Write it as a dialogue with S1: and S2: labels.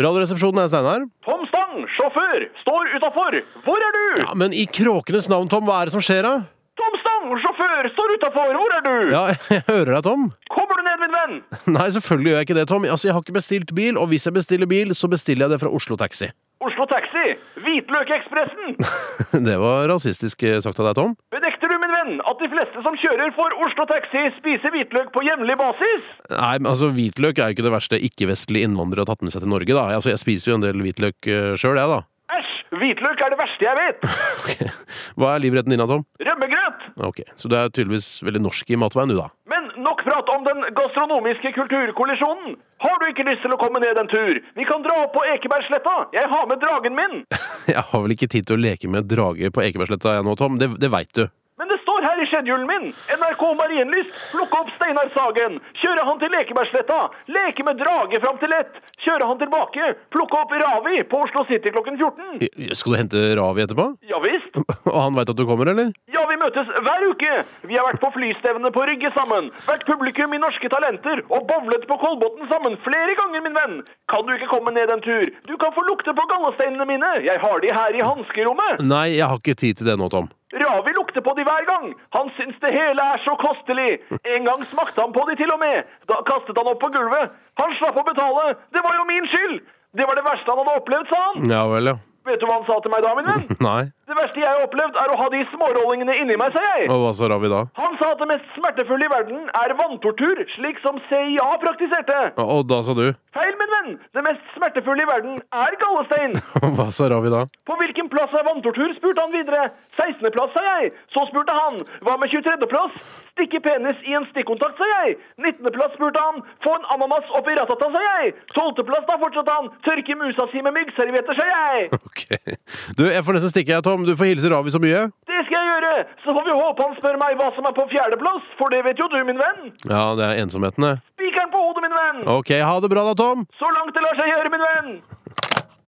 S1: Radioresepsjonen er Steinar.
S2: Tom Stang, sjåfør, står utafor! Hvor er du?
S1: Ja, men i kråkenes navn, Tom, hva er det som skjer da?
S2: Tom Stang, sjåfør, står utafor! Hvor er du?
S1: Ja, jeg hører deg, Tom.
S2: Kommer du ned, min venn?
S1: Nei, selvfølgelig gjør jeg ikke det, Tom. Altså, jeg har ikke bestilt bil, og hvis jeg bestiller bil, så bestiller jeg det fra Oslo Taxi.
S2: Oslo Taxi, Hvitløkekspressen!
S1: Det var rasistisk eh, sagt av deg, Tom.
S2: Benekter du, min venn, at de fleste som kjører for Oslo Taxi, spiser hvitløk på jevnlig basis?
S1: Nei, men altså, hvitløk er jo ikke det verste ikke-vestlige innvandrere har tatt med seg til Norge, da. Altså, jeg spiser jo en del hvitløk sjøl, jeg, da.
S2: Æsj, hvitløk er det verste jeg vet!
S1: Ok. Hva er livretten din da, Tom?
S2: Rømmegrøt!
S1: Ok, Så du er tydeligvis veldig norsk i matveien, du, da.
S2: Men nok prat om den gastronomiske kulturkollisjonen. Har du ikke lyst til å komme ned en tur? Vi kan dra opp på Ekebergsletta. Jeg har med dragen min.
S1: Jeg har vel ikke tid til å leke med drage på Ekebergsletta jeg nå, Tom. Det, det veit du.
S2: Men det står her i schedulen min. NRK Marienlyst, plukke opp Steinar Sagen. Kjøre han til Ekebergsletta. Leke med drage fram til ett. Kjøre han tilbake. Plukke opp Ravi på Oslo City klokken 14.
S1: Skal du hente Ravi etterpå?
S2: Ja visst.
S1: Og han veit at du kommer, eller?
S2: Ja, vi møtes hver uke. Vi har vært på flystevne på Rygge sammen, vært publikum i Norske Talenter og bowlet på Kolbotn sammen flere ganger, min venn. Kan du ikke komme ned en tur? Du kan få lukte på gallesteinene mine. Jeg har de her i hanskerommet.
S1: Nei, jeg har ikke tid til det nå, Tom.
S2: Ravi lukter på de hver gang. Han syns det hele er så kostelig. En gang smakte han på de til og med. Da kastet han opp på gulvet. Han slapp å betale. Det var jo min skyld. Det var det verste han hadde opplevd, sa han.
S1: Ja vel, ja.
S2: Vet du hva han sa til meg da, min venn?
S1: Nei.
S2: Det verste jeg har opplevd, er å ha de smårollingene inni meg, sa jeg.
S1: Og hva sa Ravi da?
S2: Han sa at det mest smertefulle i verden er vanntortur, slik som CIA praktiserte.
S1: Og da sa du?
S2: Feil, min venn! Det mest smertefulle i verden er gallestein.
S1: Hva sa Ravi da?
S2: På hvilken plass er vanntortur, spurte han videre. 16. plass, sa jeg. Så spurte han. Hva med 23. plass? Stikke penis i en stikkontakt, sa jeg. 19. plass, spurte han. Få en ananas opp i ratata, sa jeg. 12. plass, da fortsatte han. Tørke musa si med myggservietter, sa jeg.
S1: Ok. Du, jeg får nesten stikke, jeg, Tom. Du får hilse Ravi så mye.
S2: Det skal jeg gjøre. Så får vi håpe han spør meg hva som er på fjerde plass, for det vet jo du, min venn.
S1: Ja, det er ensomheten, det.
S2: Spikeren på hodet, min venn.
S1: Ok, ha det bra da, Tom.
S2: Så langt det lar seg gjøre, min venn!